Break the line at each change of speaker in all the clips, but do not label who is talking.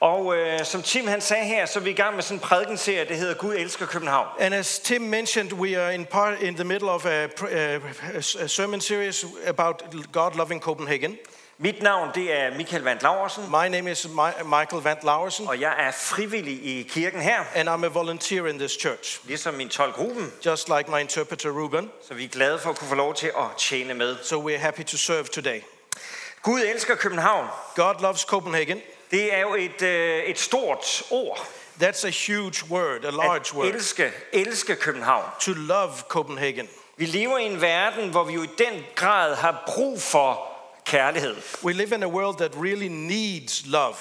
Og øh, som Tim han sagde her, så er vi i gang med sådan en prædikenserie, det hedder Gud elsker København.
And as Tim mentioned, we are in part in the middle of a, pr- a, a sermon series about God loving Copenhagen.
Mit navn det er Michael Van Laursen,
My name is Mi- Michael Vant Laursen,
og jeg er frivillig i kirken her,
and I'm a volunteer in this church,
ligesom min tolk Ruben.
just like my interpreter Ruben.
Så vi er glade for at kunne få lov til at tjene med.
So we're happy to serve today.
Gud elsker København.
God loves Copenhagen.
Det er jo et, øh, et stort ord.
That's a huge word, a large
At
word.
elske, elske København.
To love Copenhagen.
Vi lever i en verden, hvor vi jo i den grad har brug for kærlighed.
We live in a world that really needs love.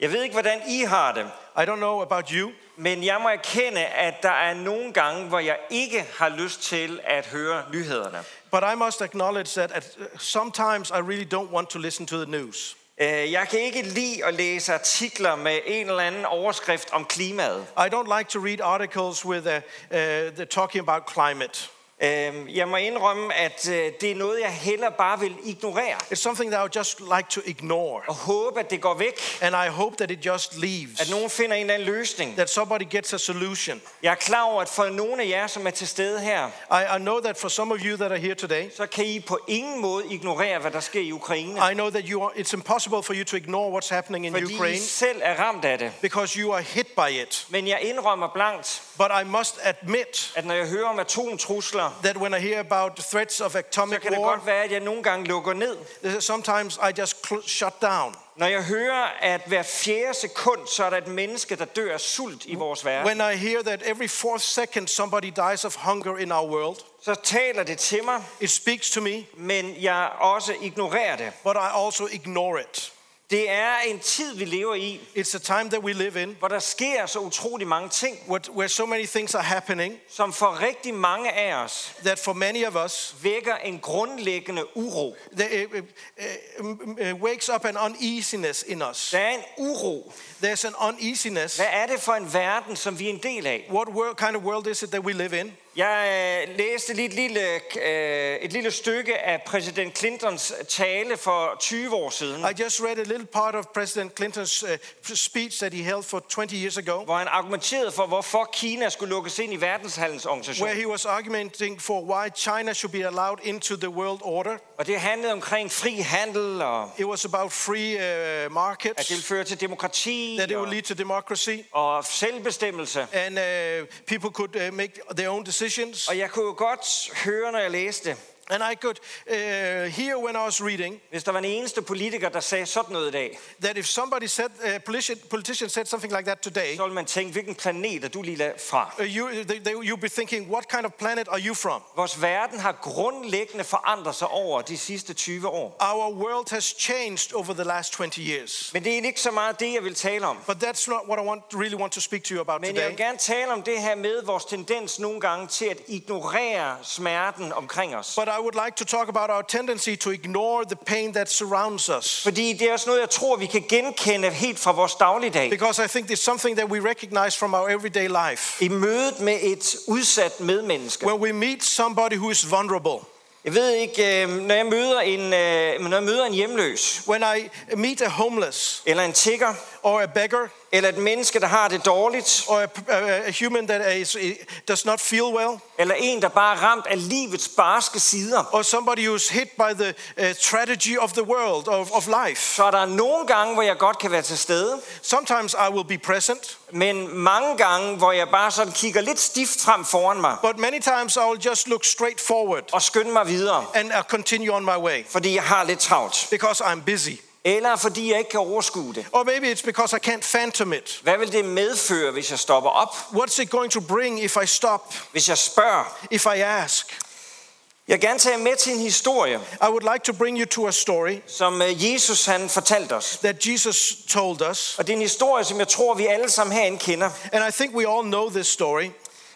Jeg ved ikke, hvordan I har det,
I don't know about you,
men jeg må erkende, at der er nogle gange, hvor jeg ikke har lyst til at høre nyhederne.
but I must acknowledge that at, sometimes I really don't want to listen to the news.
Øh, Jeg kan ikke lide at læse artikler med en eller anden overskrift om klimaet.
I don't like to read articles with a, uh, they're talking about climate.
Øh, Jeg må indrømme, at øh, det er noget, jeg heller bare vil ignorere.
It's something that I would just like to ignore.
Og håbe, at det går væk.
And I hope that it just leaves,
At nogen finder en eller anden løsning.
that somebody gets a solution.
Jeg er klar over, at for nogle af jer, som er til stede her,
I, I know that for some of you that are here today,
så kan I på ingen måde ignorere, hvad der sker i Ukraine.
I know that you are, it's impossible for you to ignore what's happening in
Fordi I
Ukraine
selv er ramt af det.
because you are hit by it.
Men jeg indrømmer blankt,
But I must admit
at når jeg hører om atomtrusler,
that when I hear about threats of
så
atomic
kan det
war,
godt være, at jeg nogle gange lukker ned.
uh, sometimes I just cl- shut down.
Når jeg hører, at hver fjerde sekund, så er der et menneske, der dør af sult i vores verden,
When I hear that every fourth second somebody dies of hunger in our world,
så taler det til mig,
it speaks to me,
men jeg også ignorerer det.
but I also ignore it.
Det er en tid, vi lever i,
It's a time that we live in
hvor der sker så utrolig mange ting,
what- where so many things are happening
som for rigtig mange af os
that for many of us,
vækker en grundlæggende uro.
that it, it, it, it wakes up an uneasiness in us.
Der er en uro.
There's an uneasiness.
Hvad er det for en verden, som vi er en del af?
What world, kind of world is it that we live in?
Jeg øh, læste lige et lille, øh, et lille stykke af præsident Clintons tale for 20 år siden,
I just read a little part of President Clinton's uh, speech that he held for 20 years ago.
hvor han argumenterede for, hvorfor Kina skulle lukkes ind i
where
verdenshandelsorganisationen.
he was arguing for why China should be allowed into the world order.
Og det handlede omkring fri handel, og
It was about free uh,
at det ville
markets,
føre til demokrati
that it would
og,
lead to democracy,
og selvbestemmelse.
and uh, people could uh, make their own decisions.
Og jeg kunne jo godt høre, når jeg læste,
And I could uh, hear when I was reading
hvis der var en eneste politiker, der sagde sådan noget i dag,
that if somebody said, a politician, politician said something like that today,
så ville man tænke, hvilken planet er du lige la- fra?
uh, you, they, they, you'd be thinking, what kind of planet are you from?
Vores verden har grundlæggende forandret sig over de sidste 20 år.
Our world has changed over the last 20 years.
Men det er egentlig ikke så meget det, jeg vil tale om.
But that's not what I want, really want to speak to you about
Men jeg
today.
vil gerne tale om det her med vores tendens nogle gange til at ignorere smerten omkring os.
But I would like to talk about our tendency to ignore the pain that surrounds us.
Fordi det er også noget, jeg tror, vi kan genkende helt fra vores dagligdag.
Because I think it's something that we recognize from our everyday life.
I mødet med et udsat medmenneske.
When we meet somebody who is vulnerable,
Jeg ved ikke, øh, når jeg møder en, øh, men når jeg møder en hjemløs,
when I meet a homeless
eller en tigger,
or a beggar
eller et menneske, der har det dårligt,
or a, a, a human that is, does not feel well,
eller en, der bare er ramt af livets barske sider,
or somebody who is hit by the uh, tragedy of the world, of, of life,
så er der nogle gange, hvor jeg godt kan være til stede,
sometimes I will be present,
men mange gange, hvor jeg bare sådan kigger lidt stift frem foran mig,
but many times I'll just look straight forward
og skynder mig videre,
and I'll continue on my way
fordi jeg har lidt travlt.
because I'm busy.
Eller fordi jeg ikke kan overskue det.
Or maybe it's because I can't phantom it.
Hvad vil det medføre, hvis jeg stopper op?
What's it going to bring if I stop,
Hvis jeg spørger,
if I ask?
Jeg vil gerne tage jer med til en historie,
I would like to bring you to a story
som øh, Jesus han fortalte os.
that Jesus told us.
Og det er en historie, som jeg tror, vi alle sammen herinde kender.
And I think we all know this story,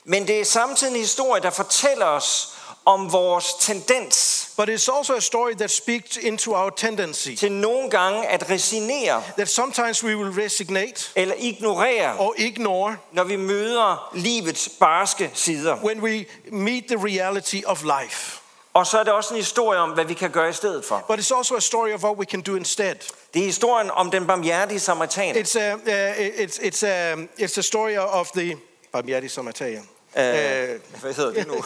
Men det er samtidig en historie, der fortæller os om vores tendens
but it's also a story that speaks into our tendency
til nogle gange at resignere
that sometimes we will resignate
eller ignorere,
or ignore
når vi møder livets barske sider.
when we meet the reality of life.
Og så er det også en historie om, hvad vi kan gøre i stedet for.
But it's also a story of what we can do instead.
Det er historien om den barmhjertige samaritaner.
It's a, uh, it's, it's a, it's a story of the Barmhjertig Samaritan.
Øh, hvad hedder det nu?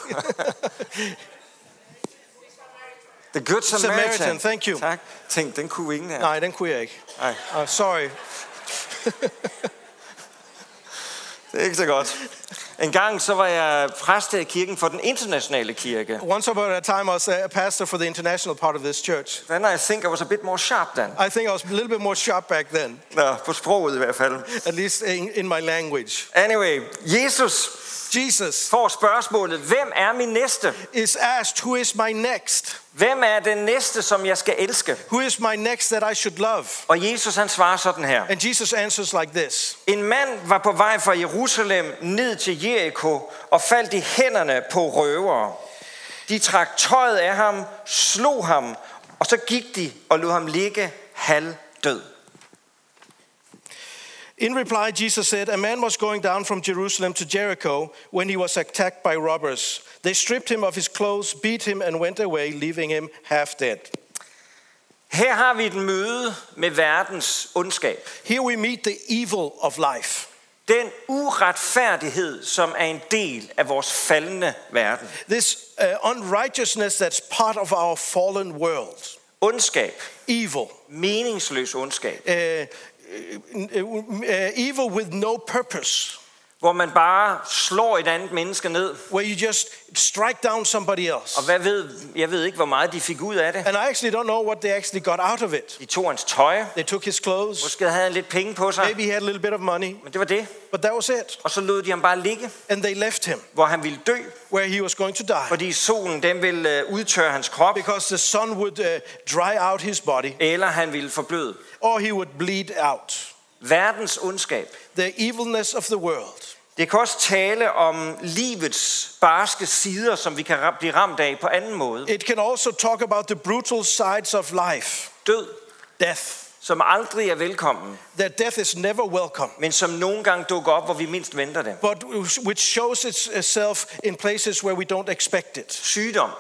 The Good Samaritan.
Samaritan, thank you.
Tak. Tænk, den kunne ingen af.
Nej, den kunne jeg ikke.
Nej.
Uh, sorry.
Det er ikke så godt. En gang så var jeg præst i kirken for den internationale kirke.
Once upon a time, I was a pastor for the international part of this church.
Then I think I was a bit more sharp then.
I think I was a little bit more sharp back then,
Nå, på sproget i hvert fald.
at least in, in my language.
Anyway, Jesus
Jesus
får spørgsmålet, hvem er min næste?
is asked, Who is my next?
Hvem er den næste, som jeg skal elske?
Who is my next that I should love?
Og Jesus han svarer sådan her.
And Jesus answers like this
En mand var på vej fra Jerusalem ned til Jericho og faldt i hænderne på røvere. De trak tøjet af ham, slog ham, og så gik de og lod ham ligge halvdød.
In reply, Jesus said, A man was going down from Jerusalem to Jericho when he was attacked by robbers. They stripped him of his clothes, beat him, and went away, leaving him half dead.
Her har vi et møde med verdens ondskab.
Here we meet the evil of life.
Den uretfærdighed, som er en del af vores faldende verden.
This uh, unrighteousness that's part of our fallen world.
Ondskab.
Evil.
Meningsløs ondskab.
Uh, uh, evil with no purpose,
Hvor man bare slår et andet menneske ned.
where you just strike down somebody
Og
else.
hvad ved, jeg ved ikke, hvor meget de fik ud af det.
And I actually don't know what they actually got out of it.
De tog hans tøj.
They took his clothes.
Måske havde han lidt penge på sig.
Maybe he had a little bit of money,
Men det var det.
but that was it.
Og så lod de ham bare ligge,
And they left him
hvor han ville dø,
where he was going to die
fordi solen den ville øh, udtørre hans krop,
because the sun would uh, dry out his body
eller han ville forbløde.
or he would bleed out.
Verdens ondskab.
The evilness of the world.
Det kan også tale om livets barske sider, som vi kan ra- blive ramt af på anden måde.
It can also talk about the brutal sides of life
Død,
death,
som aldrig er velkommen,
that death is never welcome.
men som nogle gange dukker op, hvor vi mindst venter det.
but which shows itself in places where we don't expect it.
Sygdom.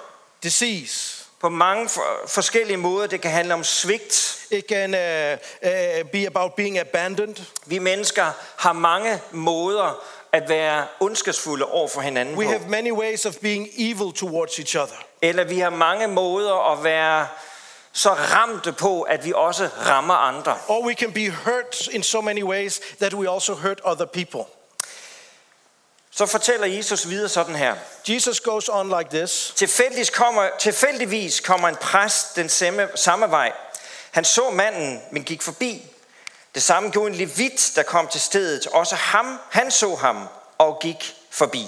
Disease.
På mange for- forskellige måder. Det kan handle om svigt.
It can uh, uh, be about being abandoned.
Vi mennesker har mange måder at være ondskabsfulde over for hinanden
We
på.
have many ways of being evil towards each other.
Eller vi har mange måder at være så ramte på, at vi også rammer andre.
Or we can be hurt in so many ways that we also hurt other people.
Så fortæller Jesus videre sådan her.
Jesus goes on like this
Tilfældigvis kommer, tilfældigvis kommer en præst den samme, samme vej. Han så manden, men gik forbi. Det samme gjorde en levit, der kom til stedet. Også ham, han så ham og gik forbi.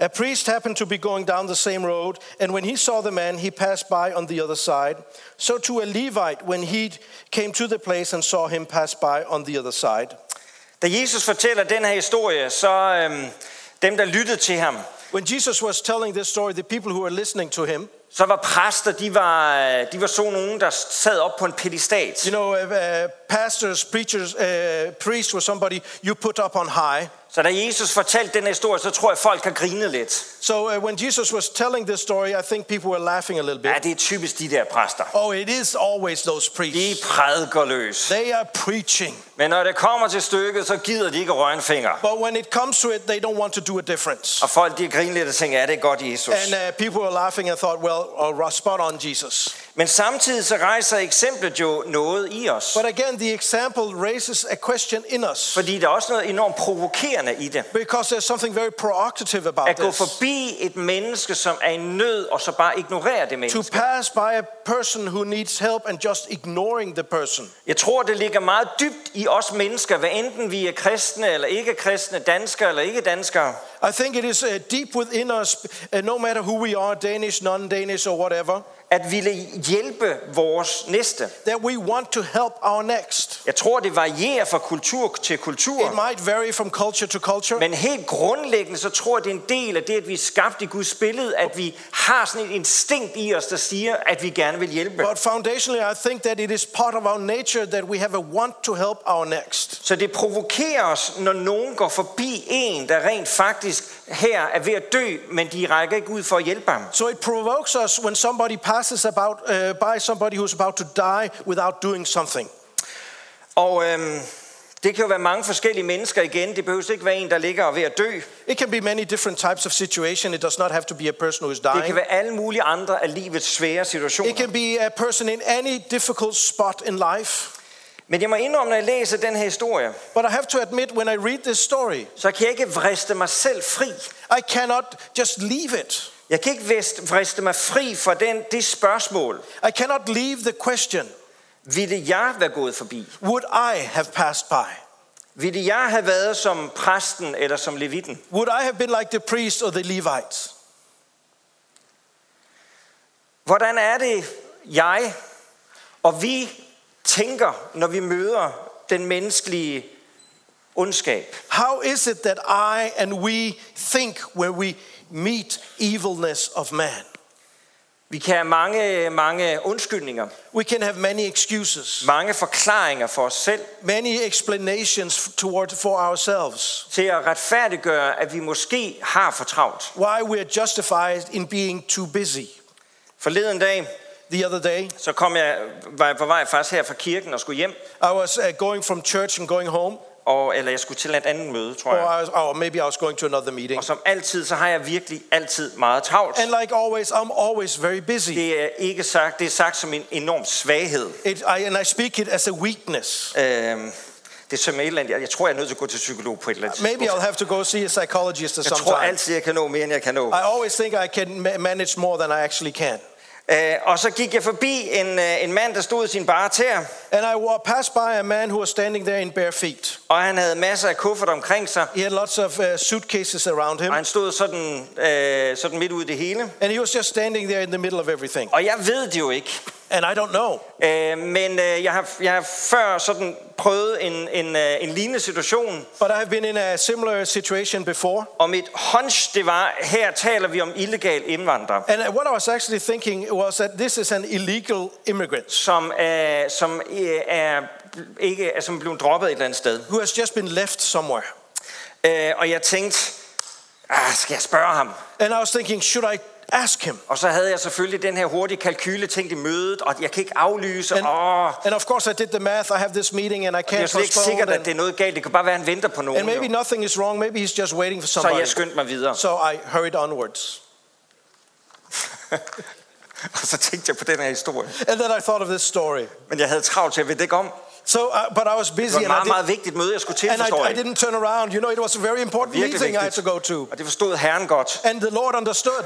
A priest happened to be going down the same road, and when he saw the man, he passed by on the other side. So too a Levite, when he came to the place and saw him pass by on the other side.
Da Jesus fortæller den her historie, så øhm, dem, der lyttede til ham,
When Jesus was telling this story, the people who were listening to him,
så var præster, de var, øh, de var så nogen, der sad op på en pedestat.
you know, uh, uh, pastors, preachers, uh, priests were somebody you put up on high.
Så da Jesus fortalte den her historie, så tror jeg, folk har grinet lidt.
So uh, when Jesus was telling this story, I think people were laughing a little
Ja,
bit.
det er typisk de der præster.
Oh, it is always those
De
priests.
prædiker løs.
They are preaching.
Men når det kommer til stykket, så gider de ikke røre en finger.
But when it comes to it, they don't want to do a difference.
Og folk de griner lidt og tænker, ja, det er godt, Jesus.
And uh, people were laughing and thought, well, uh, right, spot on, Jesus.
Men samtidig så rejser eksemplet jo noget i os.
But again, the example raises a question in us
Fordi der er også noget enormt provokerende i det.
because there's something very provocative about
At gå
this.
forbi et menneske, som er i nød, og så bare ignorere det
to
menneske.
pass by a person who needs help and just ignoring the person.
Jeg tror, det ligger meget dybt i os mennesker, hvad enten vi er kristne eller ikke kristne, danskere eller ikke danskere.
I think it is uh, deep within us, uh, no matter who we are Danish, non Danish, or whatever,
at ville hjælpe vores næste.
that we want to help our next.
Jeg tror, det varierer fra kultur til
It
kultur.
might vary from culture to culture,
Men helt grundlæggende, så tror jeg, det er en del af det, at vi er skabt i Guds billede, at vi har sådan et instinkt i os, der siger, at vi gerne vil hjælpe.
but foundationally, I think that it is part of our nature that we have a want to help our next.
Så det provokerer os, når nogen går forbi en, der rent faktisk her er ved at dø, men de rækker ikke ud for at hjælpe ham.
So it provokes us when somebody passes about uh, by somebody who's about to die without doing something.
Og øhm, det kan jo være mange forskellige mennesker igen. Det behøver ikke være en, der ligger og er ved at dø.
It can be many different types of situation. It does not have to be a person who is
Det kan
dying.
være alle mulige andre af livets svære
It
situationer.
can be a person in any difficult spot in life.
Men jeg må indrømme, når jeg læser den her historie,
But I have to admit, when I read this story,
så kan jeg ikke vriste mig selv fri.
I cannot just leave it.
Jeg kan ikke vrist- vriste mig fri fra den, det spørgsmål.
I cannot leave the question
Ville jeg være gået forbi?
would I have passed by?
Ville jeg have været som præsten eller som levitten?
Would I have been like the priest or the Levites?
Hvordan er det, jeg og vi tænker, når vi møder den menneskelige ondskab?
How is it that I and we think when we meet evilness of man?
Vi kan have mange, mange undskyldninger,
We can have many excuses,
mange forklaringer for os selv
many explanations toward for ourselves,
til at retfærdiggøre, at vi måske har for travlt.
why we're justified in being too busy.
Forleden dag,
The other day,
så kom jeg, var jeg på vej faktisk her fra kirken og skulle hjem,
I was uh, going from church and going home,
og, eller jeg skulle til et andet møde, tror
or,
jeg.
I was, or maybe I was going to another meeting.
Og som altid, så har jeg virkelig altid meget travlt.
And like always, I'm always very busy.
Det er ikke sagt, det er sagt som en enorm svaghed.
It, I, and I speak it as a weakness.
Øhm, det er som et eller andet, jeg, jeg tror, jeg er nødt til at gå til psykolog på et eller andet
Maybe I'll
tidspunkt.
have to go see a psychologist or
Jeg tror
something.
altid, jeg kan nå mere, end jeg kan nå.
I always think I can ma- manage more than I actually can.
Øh, og så gik jeg forbi en, øh, en mand, der stod i sin bare tæer,
And I wa- passed by a man who was standing there in bare feet.
og han havde masser af kuffert omkring sig,
He had lots of uh, suitcases around him,
og han stod sådan, øh, sådan midt ude i det hele.
and he was just standing there in the middle of everything.
Og jeg ved det jo ikke,
And I don't know.
øh, men øh, jeg, har, jeg har før sådan prøvet en, en, øh, en lignende situation,
But I have been in a similar situation before.
og mit hunch, det var, her taler vi om illegal indvandrere.
And uh, what I was actually thinking was that this is an illegal immigrant
som, øh, som øh, er ikke er som blevet droppet et eller andet sted.
who has just been left somewhere.
Øh, og jeg tænkte, ah, skal jeg spørge ham?
And I was thinking, should I ask him?
Og så havde jeg selvfølgelig den her hurtige kalkyle tænkt i mødet, og jeg kan ikke aflyse,
And,
og
and of course, I did the math. I have this meeting, and I
det er jo
can't
slet ikke
postpone.
sikkert, at
And,
det er noget galt. Det kan bare være, at han venter på nogen.
and maybe
Jo.
nothing is wrong. Maybe he's just waiting for
Så
somebody.
jeg skyndte mig videre.
So I hurried onwards.
Og så tænkte jeg på den her historie.
And then I thought of this story.
Men jeg havde travlt til at vide ikke om. Det
So, uh, but I was busy
var et
and, I,
meget,
did,
meget vigtigt møde, jeg skulle til,
and I,
forstår
I
jeg.
didn't turn around. You know, it was a very important
Virkelig
meeting I had
vigtigt.
to go to.
Og det forstod Herren godt.
And the Lord understood.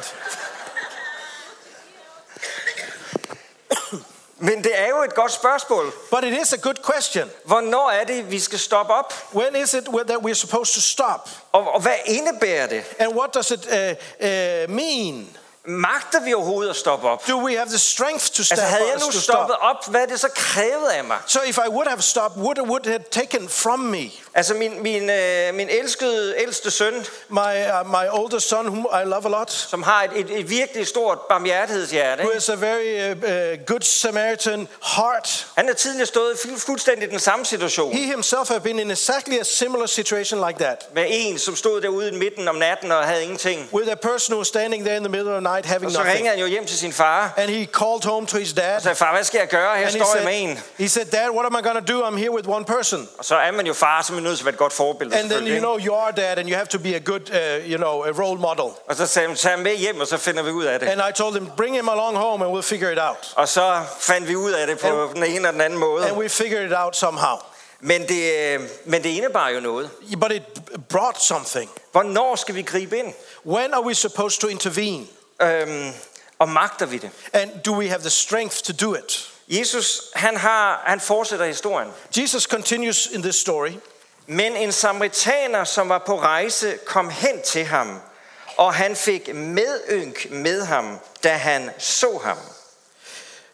Men det er jo et godt spørgsmål.
But it is a good question.
Hvornår er det, vi skal stoppe op?
When is it where- that we're supposed to stop?
Og, og hvad indebærer det?
And what does it uh, uh, mean?
Magter vi overhovedet at stoppe op?
Do we have the strength to, step,
Altså havde jeg
us
nu
to
stoppet
stop?
op, hvad er det så krævet af mig?
So if I would have stopped, would would it have taken from me
Altså min, min, øh, min elskede ældste søn,
my uh, my older son, whom I love a lot,
som har et, et, et virkelig stort barmhjertighedshjerte,
who
ikke?
is a very uh, uh, good Samaritan heart.
han har tidligere stået i fu- fuldstændig den samme situation
He himself have been in exactly a similar situation like that.
med en, som stod derude i midten om natten og havde ingenting.
with a person who was standing there in the middle of the night having
Og så
nothing.
ringede han jo hjem til sin far
And he called home to his
og
dad.
sagde, far, hvad skal jeg gøre? Her
And he
står jeg med
said,
en.
he said, Dad, what am I going to do? I'm here with one person.
Og så er man jo far, så er man nødt til at være et godt forbillede.
And then,
selvfølgelig,
you
ikke?
know, you are dad and you have to be a good, uh, you know, a role model.
Og så sagde han, tag ham med hjem, og så finder vi ud af det.
And I told him, bring him along home and we'll figure it out.
Og så fandt vi ud af det på den ene og den anden måde.
And we figured it out somehow.
Men det, øh, men det indebar jo noget.
But it brought something.
Hvornår skal vi gribe ind?
When are we supposed to intervene?
Øhm, og magter vi det?
And do we have the strength to do it?
Jesus, han, har, han fortsætter historien.
Jesus continues in this story.
Men en samaritaner, som var på rejse, kom hen til ham, og han fik medynk med ham, da han så ham.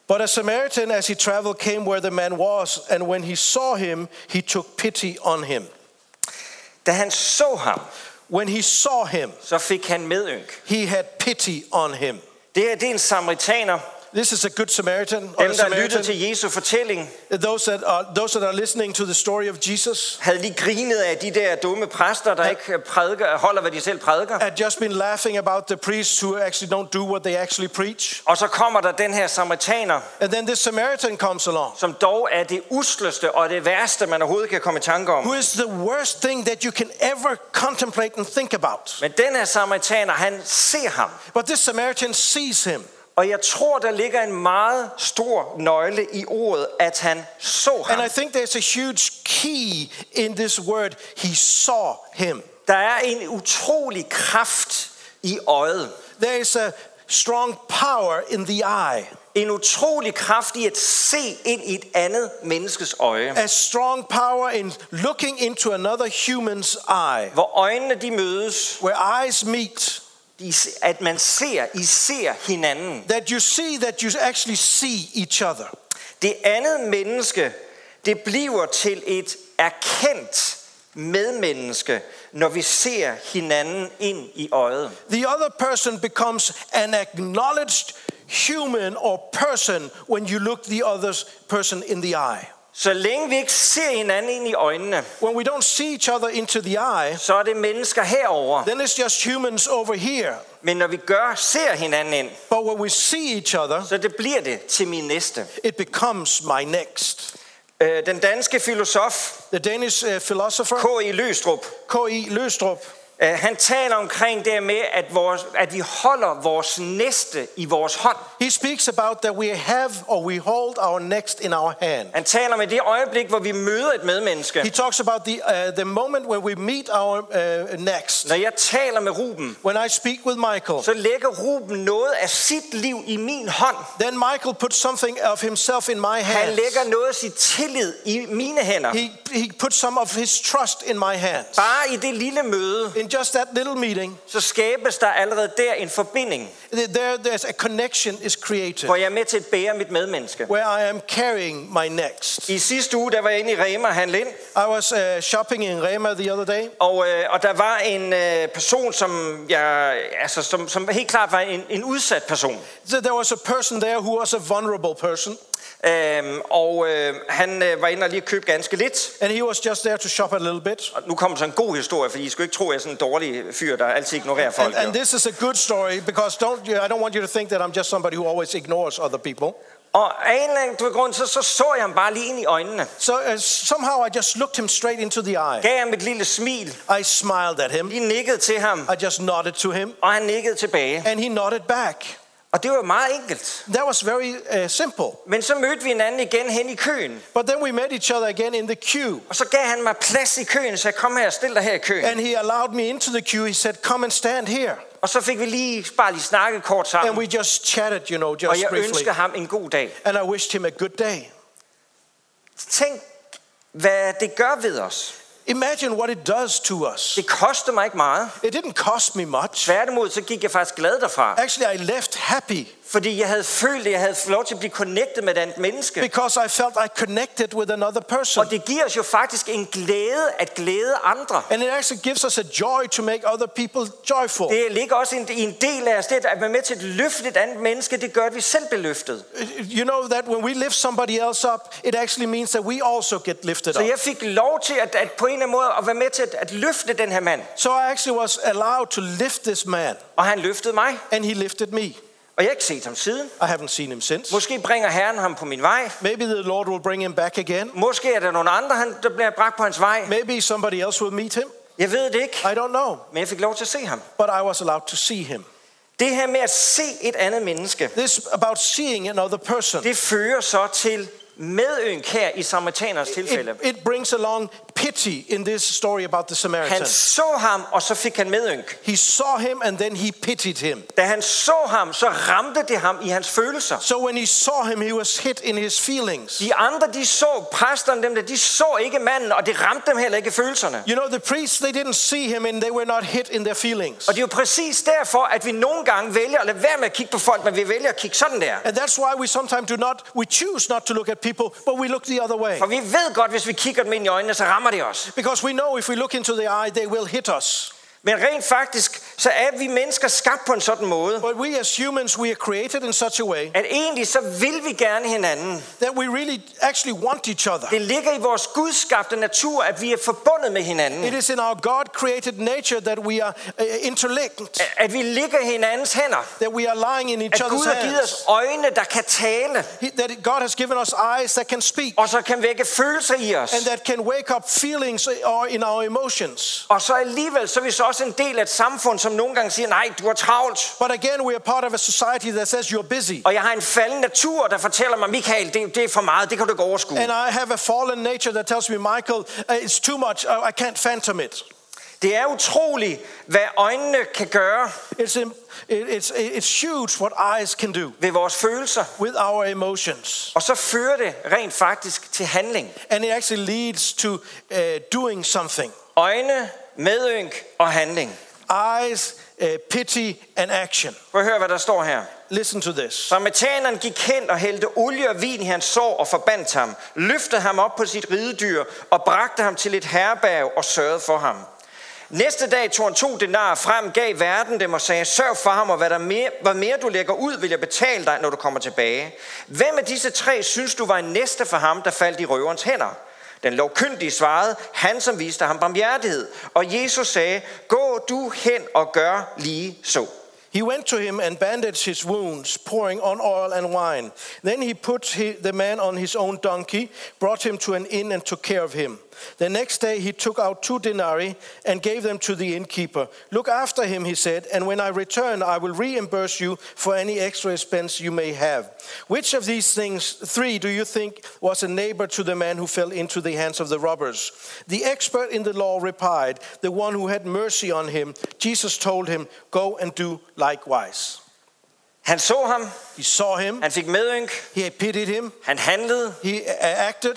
But a Samaritan, as he traveled, came where the man was, and when he saw him, he took pity on him.
Da han så ham,
When he saw him,
så fik han medynk.
he had pity on him.
Det her det er en samaritaner,
This is a good Samaritan. Or
dem
a
der lyttede
Samaritan.
til Jesu fortælling,
Those that are those that are listening to the story of Jesus
havde lige grinet af de der dumme præster, der ikke øh, prædiker, holder, hvad de selv prædiker.
had just been laughing about the priests who actually don't do what they actually preach.
Og så kommer der den her samaritaner,
And then this Samaritan comes along,
som dog er det usleste og det værste, man overhovedet kan komme i tanke om.
who is the worst thing that you can ever contemplate and think about.
Men den her samaritaner, han ser ham.
But this Samaritan sees him.
Og jeg tror, der ligger en meget stor nøgle i ordet, at han så ham.
And I think there's a huge key in this word. He saw him.
Der er en utrolig kraft i øjet.
There is a strong power in the eye,
En utrolig kraft i at se ind i et andet menneskes øje.
a strong power in looking into another human's eye.
Hvor øjnene de mødes,
Where eyes meet,
de, se- at man ser, I ser hinanden.
that you see that you actually see each other.
Det andet menneske, det bliver til et erkendt medmenneske, når vi ser hinanden ind i øjet.
The other person becomes an acknowledged human or person when you look the other person in the eye.
Så længe vi ikke ser hinanden ind i øjnene,
When we don't see each other into the eye,
så er det mennesker herover.
then it's just humans over here.
Men når vi gør, ser hinanden ind,
But when we see each other,
så det bliver det til min næste.
it becomes my next.
Øh, Den danske filosof
The Danish uh, philosopher
K.I. Løstrup,
K.E. Løstrup,
øh, han taler omkring det med, at, vores, at vi holder vores næste i vores hånd.
he speaks about that we have or we hold our next in our hand.
Han taler om i det øjeblik, hvor vi møder et
He
medmenneske.
talks about the, uh, the moment when we meet our uh, next.
Når jeg taler med Ruben,
When I speak with Michael,
så lægger Ruben noget af sit liv i min hånd.
then Michael puts something of himself in my
Han
hand.
lægger noget af sit tillid i mine hænder.
He, he puts some of his trust in my hands.
Bare i det lille møde,
In just that little meeting,
så skabes der allerede der en forbinding,
th- there, there's a connection is created
hvor jeg er med til at bære mit medmenneske.
where I am carrying my next.
I sidste uge, der var jeg inde i Rema og handle ind,
I was uh, shopping in Rema the other day,
og, øh, og der var en øh, person, som, jeg, altså, som, som helt klart var en, en udsat person.
So there was a person there who was a vulnerable person,
Øhm, og øh, han øh, var inde og lige købe ganske lidt.
and he was just there to shop a little bit.
Og nu kommer så en god historie, fordi I skal jo ikke tro, at jeg er sådan en dårlig fyr, der altid ignorerer folk.
And,
jo.
and this is a good story because don't you, I don't want you to think that I'm just somebody who always ignores other people.
Og af en eller anden grund, så, så så jeg ham bare lige ind i øjnene.
So uh, somehow I just looked him straight into the eye.
Gav ham et lille smil.
I smiled at him.
Lige nikkede til ham,
I just nodded to him,
og han nikkede tilbage.
and he nodded back.
Og det var jo meget enkelt.
That was very uh, simple.
Men så mødte vi hinanden igen hen i køen.
But then we met each other again in the queue,
Og så gav han mig plads i køen, så jeg kom her og stille dig her i køen.
and he allowed me into the queue. He said, "Come and stand here,"
Og så fik vi lige bare lige snakket kort
and
sammen.
we just chatted, you know,
Og
just
jeg
briefly.
ønskede ham en god dag.
And I wished him a good day.
Tænk, hvad det gør ved os.
Imagine what it does to us.
Det koster mig ikke meget.
It didn't cost me much.
Tværtimod, så gik jeg faktisk glad derfra.
Actually, I left happy
Fordi jeg havde følt, at jeg havde fået lov til at blive connectet med et andet menneske.
because I felt I connected with another person.
Og det giver os jo faktisk en glæde at glæde andre.
And it actually gives us a joy to make other people joyful.
Det ligger også i en- i en del af os, det at være med til at løfte et andet menneske, det gør, at vi selv bliver løftet.
You know that when we lift somebody else up, it actually means that we also get lifted
Så
up.
jeg fik lov til at, at på en eller anden måde at være med til at, at løfte den her mand.
So I actually was allowed to lift this man,
Og han løftede mig,
and he lifted me.
og jeg har ikke set ham siden.
I haven't seen him since.
Måske bringer Herren ham på min vej.
Maybe the Lord will bring him back again.
Måske er der nogle andre, han, der bliver bragt på hans vej.
Maybe somebody else will meet him.
Jeg ved det ikke,
I don't know.
men jeg fik lov til at se ham.
But I was allowed to see him.
Det her med at se et andet menneske,
This about seeing another person.
det fører så til medynk her i samaritaners tilfælde.
It, it brings along pity in this story about the Samaritan.
Han så ham, og så fik han medynk.
He saw him and then he pitied him.
Da han så ham, så ramte det ham i hans følelser.
So when he saw him, he was hit in his feelings.
De andre, de så præsterne, dem der, de så ikke manden, og det ramte dem heller ikke i følelserne.
You know, the priests, they didn't see him and they were not hit in their feelings.
Og det er jo præcis derfor, at vi nogle gange vælger at lade være med at kigge på folk, men vi vælger at kigge sådan der.
And that's why we sometimes do not, we choose not to look at people, but we look the other way.
For vi ved godt, hvis vi kigger dem ind i øjnene, så rammer det os.
Because we know if we look into the eye, they will hit us.
Men rent faktisk, så er vi mennesker skabt på en sådan måde,
But we as humans, we are created in such a way
at egentlig så vil vi gerne hinanden.
that we really actually want each other.
Det ligger i vores gudskabte natur, at vi er forbundet med
It
hinanden.
is in our God created nature that we are uh, interlinked,
At vi ligger i hinandens hænder.
that we are lying in each
At
other's
Gud har givet os
hands,
øjne, der kan tale,
He- that God has given us eyes that can speak
og så kan vække følelser i os.
and that can wake up feelings or in our emotions.
Og så alligevel, så er vi så også en del af et samfund, som nogle gange siger, nej, du har travlt.
But again, we are part of a society that says you're busy.
Og jeg har en falden natur, der fortæller mig, Michael, det, det er for meget, det kan du ikke overskue.
And I have a fallen nature that tells me, Michael, uh, it's too much. I, I can't phantom it.
Det er utroligt, hvad øjnene kan gøre
It's, im- it- it's, it's huge what eyes can do
ved vores følelser.
with our emotions.
Og så fører det rent faktisk til handling.
And it actually leads to uh, doing something.
Øjne, medynk og handling.
Eyes, uh, pity, and action.
Prøv at høre, hvad der står her.
Listen to this.
Samaritaneren gik hen og hældte olie og vin i hans sår og forbandt ham, løftede ham op på sit ridedyr og bragte ham til et herberg og sørgede for ham. Næste dag tog han to denarer frem, gav verden dem og sagde, sørg for ham, og hvad, der mere, hvad mere du lægger ud, vil jeg betale dig, når du kommer tilbage. Hvem af disse tre synes du var en næste for ham, der faldt i røverens hænder? Den lovkyndige svarede, han som viste ham barmhjertighed. Og Jesus sagde, gå du hen og gør lige så.
He went to him and bandaged his wounds, pouring on oil and wine. Then he put he- the man on his own donkey, brought him to an inn, and took care of him. The next day he took out two denarii and gave them to the innkeeper. Look after him, he said, and when I return, I will reimburse you for any extra expense you may have. Which of these things, three, do you think was a neighbor to the man who fell into the hands of the robbers? The expert in the law replied, The one who had mercy on him. Jesus told him, Go and do likewise.
Han så ham,
He saw him,
han fik medynk,
he pitied him,
Han handlede,
he uh, acted,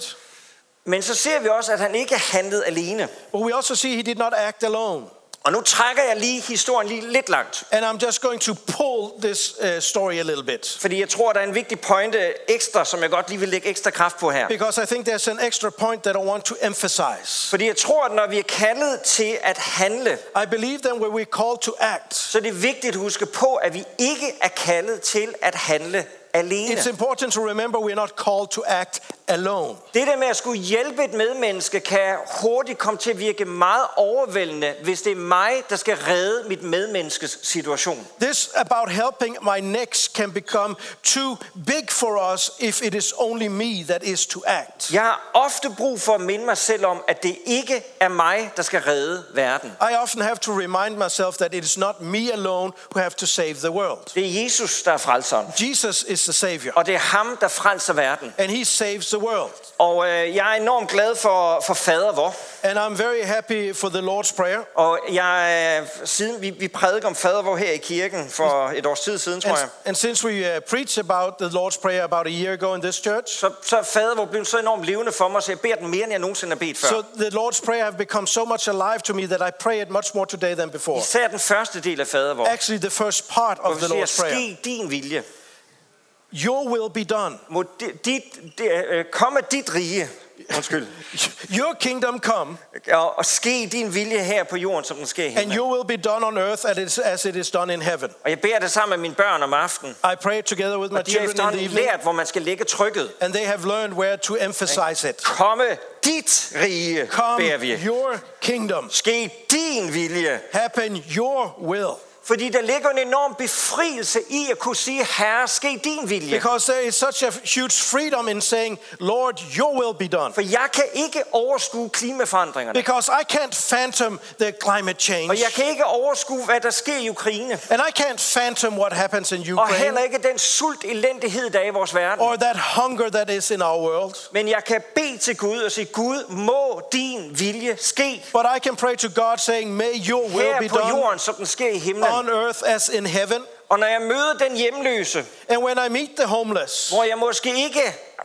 men så ser vi også, at han ikke handlede alene.
but we also see he did not act alone.
Og nu trækker jeg lige historien lige lidt langt,
And I'm just going to pull this uh, story a little bit
fordi jeg tror, der er en vigtig pointe ekstra, som jeg godt lige vil lægge ekstra kraft på her.
because I think there's an extra point that I want to emphasize.
Fordi jeg tror, at når vi er kaldet til at handle,
I believe then when we're called to act,
så er det vigtigt at huske på, at vi ikke er kaldet til at handle alene.
it's important to remember we're not called to act alone.
Det der med at skulle hjælpe et medmenneske, kan hurtigt komme til at virke meget overvældende, hvis det er mig, der skal redde mit medmenneskes situation.
This about helping my next can become too big for us if it is only me that is to act.
Jeg har ofte brug for at minde mig selv om, at det ikke er mig, der skal redde verden.
I often have to remind myself that it is not me alone who have to save the world.
Det er Jesus, der er frelseren.
Jesus is the Savior,
Og det er ham, der frelser verden.
and He saves the world.
Og øh, jeg er enormt glad for, for fader vor.
And I'm very happy for the Lord's Prayer.
Og jeg, øh, siden vi, vi prædikede om fader vor her i kirken for et års tid siden, tror jeg,
And, and since we uh, preached about the Lord's Prayer about a year ago in this church,
så, så er fader vor blevet så enormt levende for mig, så jeg beder den mere, end jeg nogensinde har bedt før.
so the Lord's Prayer have become so much alive to me that I pray it much more today than before.
Især den første del af fader vor,
Actually, the first part
hvor
of
vi
the
siger,
Lord's Prayer
ske din vilje.
Your will be done.
Må dit, dit, det, øh, komme dit rige, undskyld,
Your kingdom come,
og, og ske din vilje her på jorden, som den sker
and
her.
your will be done on earth as it is- as it is done in heaven.
Og jeg beder det sammen med mine børn om aftenen.
I pray it together with my
Og de har
children in the
efterhånden
evening,
lært, hvor man skal lægge trykket.
and they have learned where to emphasize it.
Komme dit rige,
Come,
beder vi.
your kingdom.
Ske din vilje.
Happen your will.
Fordi der ligger en enorm befrielse i at kunne sige, Herre, ske din vilje.
Because there is such a huge freedom in saying, Lord, your will be done.
For jeg kan ikke overskue klimaforandringerne.
Because I can't phantom the climate
Og
change.
jeg kan ikke overskue, hvad der sker i Ukraine.
And I can't phantom what happens in
Og
Ukraine
heller ikke den sult, elendighed, der er i vores verden.
or that hunger that is in our world.
Men jeg kan bede til Gud og sige, Gud, må din vilje ske
But I can pray to God saying, May your will be
her på
done
jorden, som den sker i himlen.
on earth as in heaven.
Og når jeg møder den hjemløse,
And when I meet the homeless,
hvor jeg måske ikke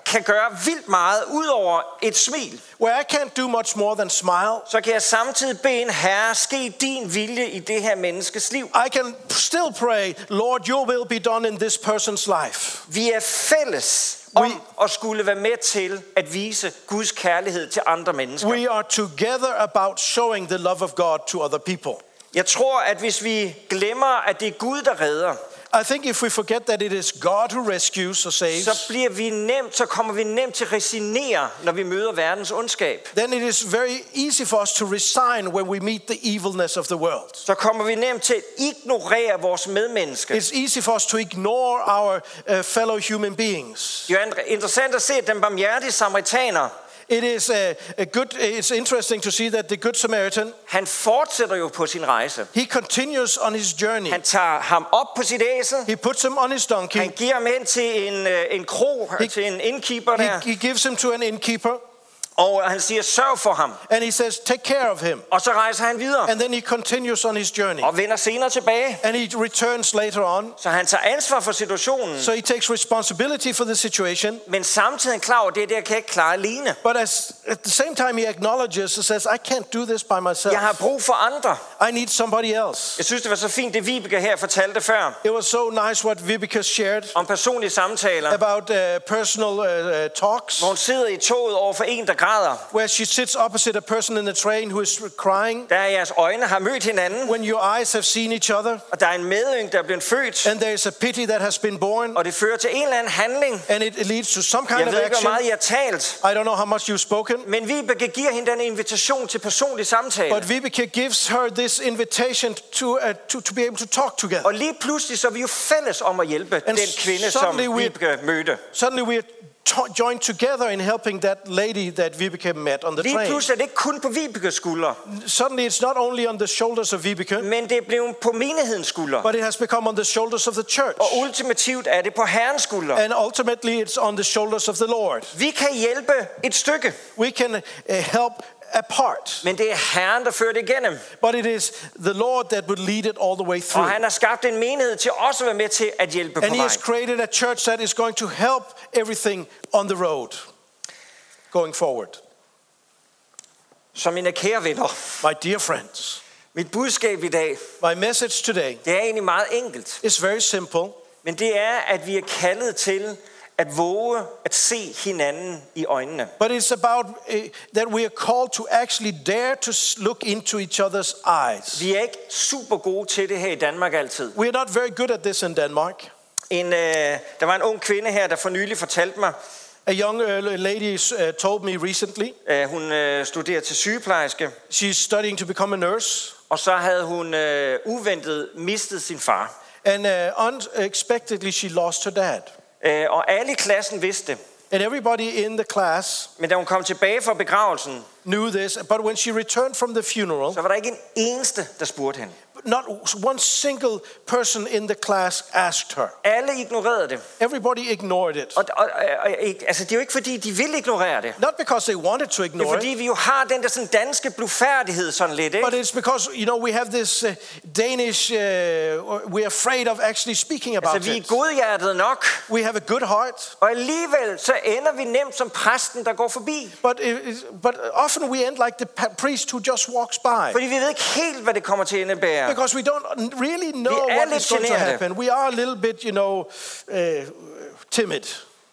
kan gøre vildt meget ud over et smil,
where I can't do much more than smile,
så kan jeg samtidig bede en herre, ske din vilje i det her menneskes liv.
I can still pray, Lord, your will be done in this person's life.
Vi er fælles
We-
om at skulle være med til at vise Guds kærlighed til andre mennesker.
We are together about showing the love of God to other people.
Jeg tror, at hvis vi glemmer, at det er Gud, der redder,
I think if we forget that it is God who rescues or
så
saves,
bliver vi nemt, så kommer vi nemt til at resignere, når vi møder verdens ondskab.
then it is very easy for us to resign when we meet the evilness of the world.
Så kommer vi nemt til at ignorere vores medmennesker.
It's easy for us to ignore our uh, fellow human beings.
Det er jo interessant at se, at den barmhjertige samaritaner,
It is a, a good. It's interesting to see that the Good Samaritan
han fortsætter jo på sin rejse.
he continues on his journey.
Han tager ham op på sit æsel.
He puts him on his
Han
donkey.
giver ham hen til en, øh, en krog, til en indkeeper
He,
der.
he gives him to an innkeeper,
Og øh, han siger, sørg for ham.
and he says, "Take care of him."
Og så rejser han videre
And then he continues on his journey,
og vender senere tilbage.
and he returns later on.
Så han tager ansvar for situationen,
So he takes responsibility for the situation,
men samtidig er han klar over, at det der kan jeg ikke klare alene.
but as, at the same time he acknowledges and says, "I can't do this by
Jeg har
myself.
brug for andre.
I need somebody else."
Jeg synes, det var så fint, det Vibeke her fortalte før,
It was so nice what Vibeke shared
om personlige samtaler.
about uh, personal uh, uh, talks.
Hvor hun sidder i toget over for en, der græder.
where she sits opposite a person in the train who is crying,
Der er jeres øjne har mødt hinanden,
when your eyes have seen each other,
og der er en medøng, der er blevet født,
and there is a pity that has been born,
og det fører til en eller anden handling.
and it it leads to some kind
Jeg
of
ved ikke, hvor
action.
meget I har talt,
I don't know how much you've spoken,
men Vibeke giver hende den invitation til personlig
but
samtale.
Vibeke gives her this invitation to, uh, to, to be able to talk together.
Og lige pludselig så er vi jo fælles om at hjælpe
And
den kvinde, som
suddenly we-
Vibeke mødte.
Suddenly we're to- joined together in helping that lady that Vibeke met on the
Lige
train.
pludselig er det ikke kun på Vibekes skuldre,
Suddenly it's not only on the shoulders of Vibeke,
men det er blevet på menighedens skuldre.
but it has become on the shoulders of the church.
Og ultimativt er det på Herrens skuldre.
And ultimately it's on the shoulders of the Lord.
Vi kan hjælpe et stykke,
We can uh, help apart.
men det er Herren, der fører det igennem.
But it is the Lord that would lead it all the way
Og
through.
han har skabt en menighed til også at være med til at hjælpe på
And He
vej.
has created a church that is going to help everything on the road going forward.
Som mine kære venner,
My dear friends,
mit budskab i dag,
my message today
det er egentlig meget enkelt.
is very simple.
Men det er, at vi er kaldet til at våge at se hinanden i øjnene.
But it's about uh, that we are called to actually dare to s- look into each other's eyes.
Vi er ikke super gode til det her i Danmark altid.
We're not very good at this in Denmark.
En, øh, der var en ung kvinde her, der for nylig fortalte mig,
A young uh, lady uh, told me recently
øh, hun øh, studerer til sygeplejerske,
she's studying to become a nurse,
og så havde hun øh, uventet mistet sin far.
and uh, unexpectedly she lost her dad.
Øh, og alle i klassen vidste det.
And everybody in the class
Men da hun kom tilbage fra begravelsen,
knew this, but when she returned from the funeral,
så var der ikke en eneste, der spurgte hende.
not one single person in the class asked her.
Alle ignorerede det.
Everybody ignored it.
Og, og, og, og ikke- altså, det er jo ikke fordi, de vil ignorere det.
Not because they wanted to
Det er
ignore
fordi,
it,
vi jo har den der sådan danske blufærdighed sådan lidt,
but
ikke?
it's because, you know, we have this uh, Danish, uh, or we're afraid of actually speaking
Altså,
about
vi er
it.
godhjertet nok,
We have a good heart,
og alligevel så ender vi nemt som præsten, der går forbi.
but, it is, but often we end like the pa- priest who just walks by.
Fordi vi ved ikke helt, hvad det kommer til at indebære.
Because we don't really know
Vi er
what
lidt
is going to
generte.
happen. We are a little bit, you know, uh, timid.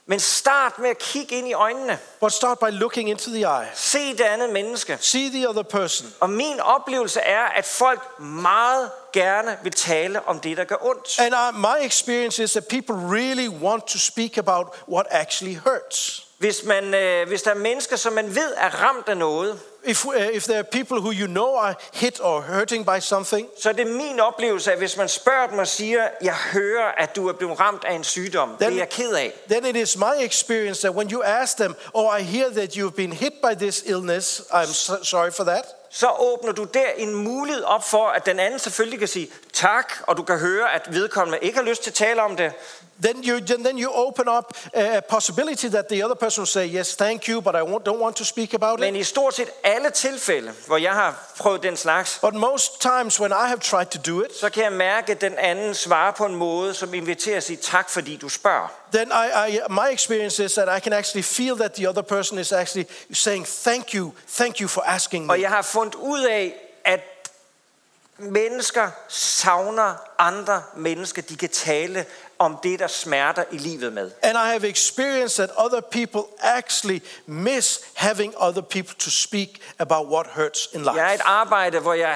Men start med at kigge ind i øjnene.
But start by looking into the eye.
Se det andet menneske.
See the other person.
Og min oplevelse er, at folk meget gerne vil tale om det, der gør ondt.
And uh, my experience is that people really want to speak about what actually hurts.
Hvis, man, øh, hvis der er mennesker, som man ved er ramt af noget,
If, uh, if there are people who you know are hit or hurting by something,
Så det er min oplevelse, at hvis man spørger dem og siger, jeg hører, at du er blevet ramt af en sygdom, det er jeg ked af.
then it is my experience that when you ask them, Oh, I hear that you've been hit by this illness, I'm so- sorry for that.
Så åbner du der en mulighed op for, at den anden selvfølgelig kan sige tak, og du kan høre, at vedkommende ikke har lyst til at tale om det.
Then you, then then you open up a possibility that the other person will say, Yes, thank you, but I won't, don't want to speak about
Men
it.
i stort set alle tilfælde, hvor jeg har prøvet den slags,
But most times when I have tried to do it,
så kan jeg mærke, at den anden svarer på en måde, som inviterer at sige tak, fordi du spørger.
then I, I, my experience is that I can actually feel that the other person is actually saying, Thank you, thank you for asking
Og
me.
jeg har fundet ud af, at mennesker savner andre mennesker, de kan tale om det, der smerter i livet med.
And I have experienced that other people actually miss having other people to speak about what hurts in
Jeg er i
life.
et arbejde, hvor jeg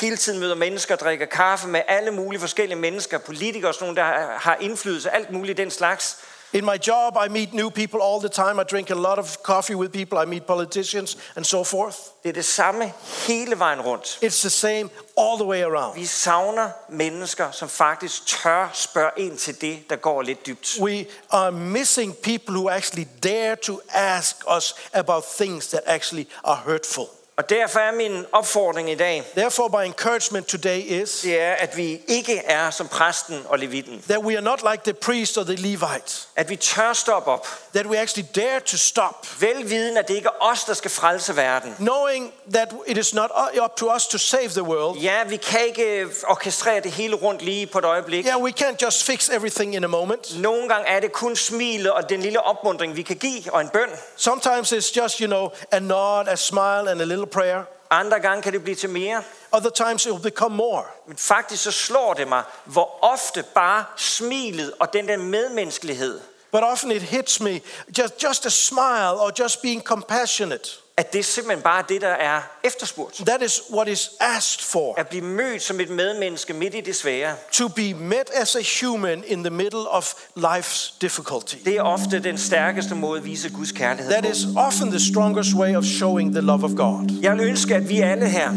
hele tiden møder mennesker, drikker kaffe med alle mulige forskellige mennesker, politikere og sådan nogle, der har indflydelse, alt muligt den slags.
In my job, I meet new people all the time. I drink a lot of coffee with people. I meet politicians and so forth.
Det er det samme hele vejen rundt.
It's the same all the way around.
Vi savner mennesker, som faktisk tør spørge ind til det, der går lidt dybt.
We are missing people who actually dare to ask us about things that actually are hurtful.
Og derfor er min opfordring i dag,
Therefore, my encouragement today is
det er, at vi ikke er som præsten og levitten.
that we are not like the priest or the Levite,
At vi tør stoppe op.
that we actually dare to stop,
Velviden, at det ikke er os, der skal frelse verden.
knowing that it is not up to us to save the world.
Ja, vi kan ikke orkestrere det hele rundt lige på et øjeblik.
Yeah, we can't just fix everything in a moment.
Nogle gange er det kun smilet og den lille opmundring, vi kan give, og en bøn.
Sometimes it's just, you know, a nod, a smile, and a little prayer.
Andre gange kan det blive til mere.
Other times it will become more.
Men faktisk så slår det mig, hvor ofte bare smilet og den der medmenneskelighed,
But often it hits me just, just a smile or just being compassionate.
at det simpelthen bare er det, der er efterspurgt.
That is what is asked for.
At blive mødt som et medmenneske midt i det svære,
To be met as a human in the middle of life's difficulty.
det er ofte den stærkeste måde at vise Guds kærlighed
That
på.
is often the strongest way of showing the love of God.
Jeg vil ønske, at vi alle her,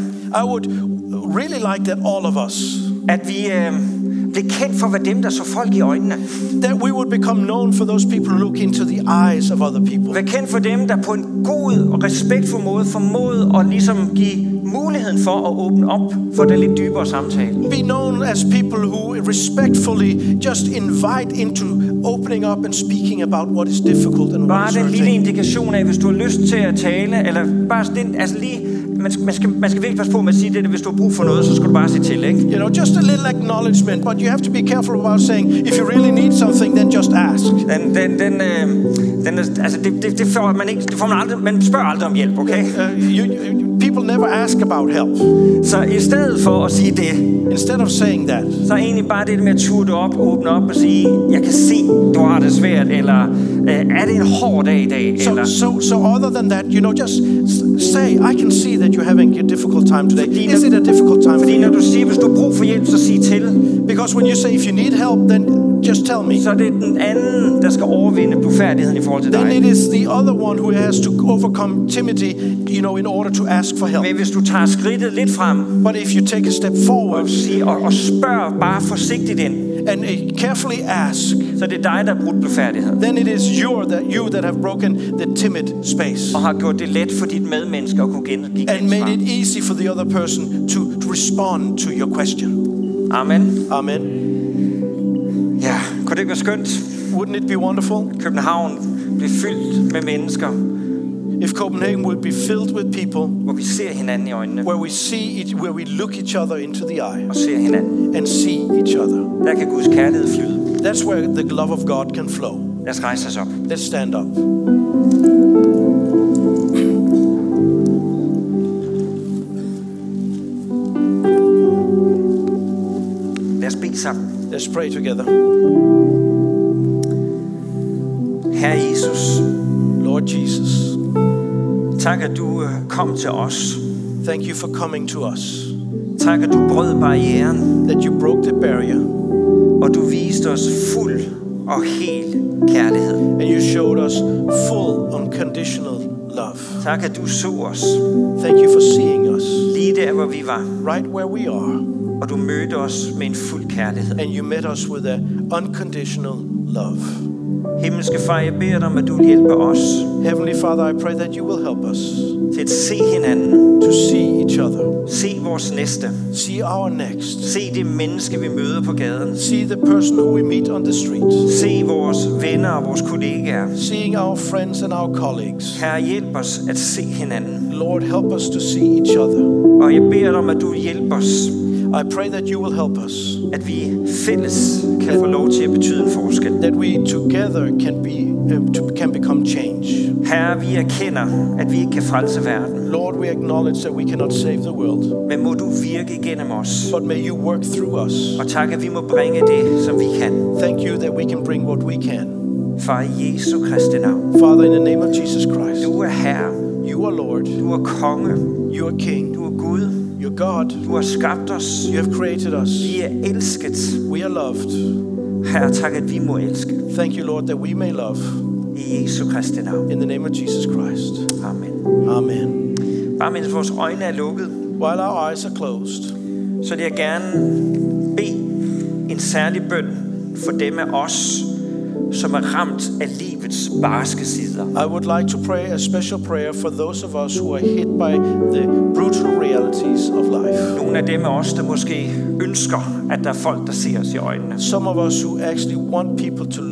I would really like that all of us,
at vi øh, blev kendt for, hvad dem, der så folk i øjnene.
that we would become known for those people who look into the eyes of other people.
Vær kendt for dem, der på en god og respektfuld måde formåede at ligesom give muligheden for at åbne op for den lidt dybere samtale.
Be known as people who respectfully just invite into opening up and speaking about what is difficult and what
Bare
is
den lille
hurting.
indikation af, hvis du har lyst til at tale, eller bare den, altså lige, man skal, man skal, man skal virkelig passe på med at sige det, der, hvis du har brug for noget, så skal du bare sige til, ikke?
You know, just a little acknowledgement, but you have to be careful about saying, if you really need something, then just ask.
Den, den, den, øh, den er- altså det, det, det, får man ikke, det får man aldrig, man spørger aldrig om hjælp, okay?
Uh, you, you, people never ask about help.
Så i stedet for at sige det,
Instead of saying that,
så er egentlig bare det med at turde op, åbne op og sige, jeg kan se, du har det svært, eller øh, er det en hård dag i dag,
So,
eller...
so, so other than that, you know, just s- say, I can see that you're having a difficult time today.
Fordi
Is
når-
it a difficult time for
Fordi
you?
når du siger, hvis du har brug for hjælp, så sig til.
Because when you say, if you need help, then just tell me.
Så er det den anden, der skal overvinde blufærdigheden i forhold til
Then
dig.
it is the other one who has to overcome timidity, you know, in order to ask for help.
Men hvis du tager skridtet lidt frem
But if you take a step
og,
forward
siger, og, og spørger bare forsigtigt ind,
and uh, carefully ask,
så er det dig, der har brudt blufærdigheden.
then it is you that you that have broken the timid space
Og har gjort det let for dit medmenneske at kunne gengive
and made it
svar.
easy for the other person to to respond to your question.
Amen.
Amen.
Ja, kunne det ikke være skønt?
Wouldn't it be wonderful
København blev fyldt med mennesker,
if Copenhagen would be filled with people?
hvor vi ser hinanden i øjnene
where we see each, where we look each other into the eye
og ser hinanden.
and see each other.
Der kan Guds kærlighed flyde.
That's where the love of God can flow.
Lad os rejse os op.
Let's stand up.
Lad os bede sammen.
Let's pray together.
Herre Jesus,
Lord Jesus,
tak at du øh, kom til os.
thank you for coming to us.
Tak at du brød barrieren,
That you broke the barrier
og du viste os fuld og hel kærlighed.
and you showed us full unconditional love.
Tak, at du så os
Thank you for seeing us
lige der, hvor vi var,
right where we are,
og du mødte os med en fuld kærlighed.
and you met us with an unconditional love.
Himmelske far, jeg beder dig om, at du vil hjælpe os
Heavenly Father, I pray that you will help us
til at se hinanden,
to see each other,
se vores næste,
see our next,
se det menneske, vi møder på gaden,
see the person who we meet on the street,
se vores venner og vores kollegaer.
seeing our friends and our colleagues.
Herre, hjælp os at se hinanden,
Lord, help us to see each other.
og jeg beder dig om, at du vil hjælpe os,
I pray that you will help us,
at vi fælles kan få lov til at betyde en forskel.
that we together can be um, to, can become change.
Herre, vi erkender, at vi ikke kan frelse verden,
Lord, we acknowledge that we cannot save the world,
men må du virke igennem os.
but may you work through us.
Og tak, at vi må bringe det, som vi kan.
Thank you that we can bring what we can.
Far i Jesu Kristi navn.
Father, in the name of Jesus Christ,
Du er herre,
you are Lord,
du er konge,
you are King,
du er Gud,
you're God,
du har skabt os.
you have created us,
Vi er elsket.
we are loved.
Herre, tak, at vi må elske.
Thank you, Lord, that we may love.
I Jesu Kristi navn.
In the name of Jesus Christ.
Amen.
Amen.
Bare mens vores øjne er lukket,
While our eyes are closed,
så vil jeg gerne bede en særlig bøn for dem af os, som er ramt af livets barske sider.
I would like to pray a special prayer for those of us who are hit by the brutal realities of life.
Nogle af dem af os, der måske ønsker, at der er folk, der ser os i øjnene.
Some of us who actually want people to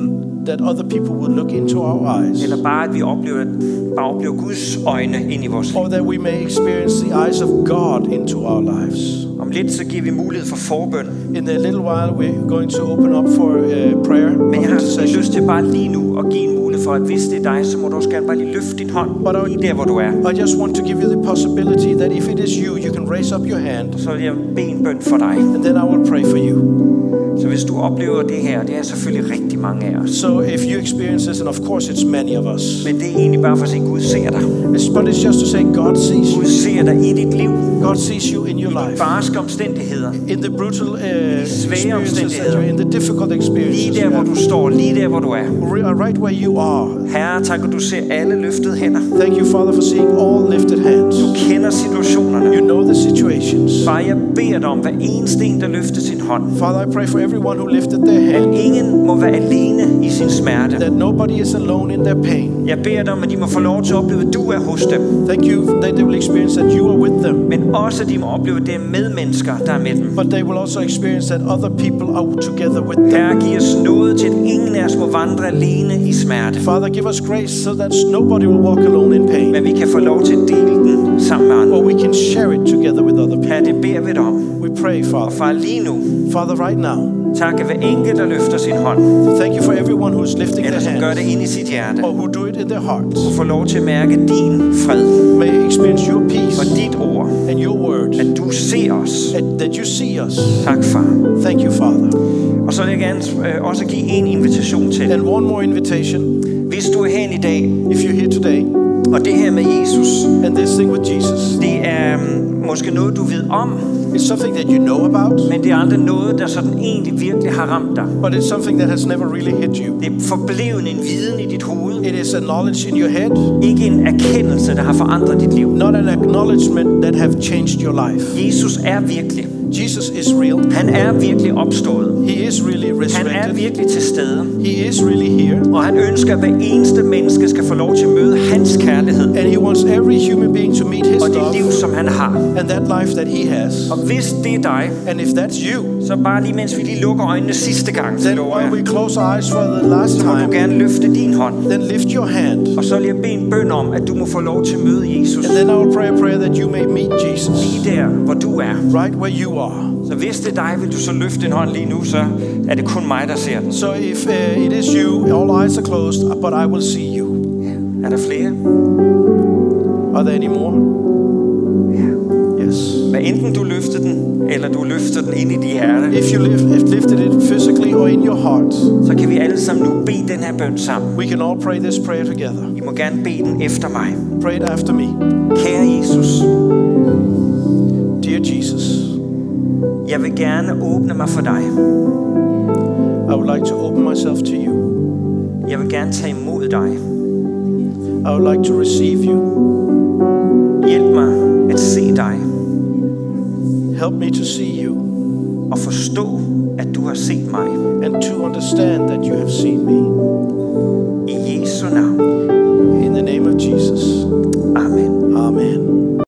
that other people would look into our eyes,
Eller bare, at vi oplever, bare oplever Guds øjne ind i vores liv.
or that we may experience the eyes of God into our lives.
Om lidt, så giver vi mulighed for forbøn.
In a little while, we're going to open up for uh, prayer of
Men jeg har
intercession.
lyst til bare lige nu at give en mulighed for, at hvis det er dig, så må du også gerne bare lige løfte din hånd
Bare der-
lige der, hvor du er.
I just want to give you the possibility that if it is you, you can raise up your hand,
Så vil jeg bede en bøn for dig.
and then I will pray for you.
Så hvis du oplever det her, det er selvfølgelig rigtig mange af os.
So if you experience this, and of course it's many of us,
Men det er egentlig bare for at sige, Gud ser dig.
it's, but it's just to say God sees you.
Gud ser dig i dit liv.
God sees you in your life,
Barske omstændigheder.
in the brutal uh, experiences that
omstændigheder.
you're in, the difficult experiences,
Lige
you
der, hvor du
have.
står. Lige der, hvor du er.
Re- uh, right where you are.
Herre, tak, at du ser alle løftede hænder.
Thank you, Father, for seeing all lifted hands.
Kender situationerne.
You know the situations.
Far, jeg beder dig om hver eneste en, der løfter sin hånd.
Father, I pray for everyone who lifted their hand,
Ingen må være alene i sin smerte.
that nobody is alone in their pain.
Jeg beder dig om, at de må få lov til at opleve, at du er hos dem.
Thank you that they will experience that you are with them,
Men også, at de må opleve, at det er medmennesker, der er med dem.
but they will also experience that other people are together with them.
Herre, giv os noget til, at ingen af os må vandre alene i smerte.
Father, give us grace so that nobody will walk alone in pain,
Men vi kan få lov til at dele den sammen med andre.
or we can share it together with other people.
Herre, det beder vi dig om.
We pray,
Og
Father.
far, lige nu,
Father, right now.
tak at hver enkelt, der løfter sin hånd,
Thank you for everyone who is lifting
eller
their
Er som gør
hands
det ind i sit hjerte,
or who do it in their hearts.
få lov til at mærke din fred
May experience your peace
og dit ord,
and your word,
at du ser os.
and that you see us.
Tak, far.
Thank you, Father.
Og så vil jeg gerne øh, også give en invitation til.
And one more invitation.
Hvis du er hen i dag,
If you're here today
og det her med Jesus,
and this thing with Jesus,
det er øhm, måske noget, du ved om,
it's something that you know about,
men det er aldrig noget, der sådan egentlig virkelig har ramt dig.
but it's something that has never really hit you.
Det er forblevet en viden i dit hoved,
It is a knowledge in your head,
ikke en erkendelse, der har forandret dit liv.
not an acknowledgement that have changed your life.
Jesus er virkelig.
Jesus is real.
Han er virkelig opstået.
He is really
Han er
resurrected.
virkelig til stede.
He is really here.
Og han ønsker, at hver eneste menneske skal få lov til at møde hans kærlighed
And he wants every human being to meet his
og det liv,
love
som han har.
and that life that he has.
Og hvis det er dig,
And if that's you,
så bare lige mens vi lige lukker øjnene sidste gang, så
then
lover
while
jeg,
we close our eyes for the last
så må du
time,
gerne løfte din hånd.
then lift your hand.
Og så vil jeg bede en bøn om, at du må få lov til at møde Jesus
And then I will pray a prayer that you may meet Jesus
lige der, hvor du er.
right where you are.
Så hvis det er dig, vil du så løfte en hånd lige nu, så er det kun mig, der ser den.
So if uh, it is you, all eyes are closed, but I will see you.
Er der flere?
Are there any more? Yes.
Hvad enten du løfter den, eller du løfter den ind i dit hjerte,
If you lift, if lifted it physically or in your heart,
så kan vi alle sammen nu bede den her bøn sammen.
we can all pray this prayer together.
I må gerne bede den efter mig.
Pray it after me.
Kære Jesus,
Dear Jesus,
jeg vil gerne åbne mig for dig.
I would like to open myself to you.
Jeg vil gerne tage imod dig.
I would like to receive you.
Hjælp mig at se dig
Help me to see you
og forstå, at du har set mig.
and to understand that you have seen me.
I Jesu navn.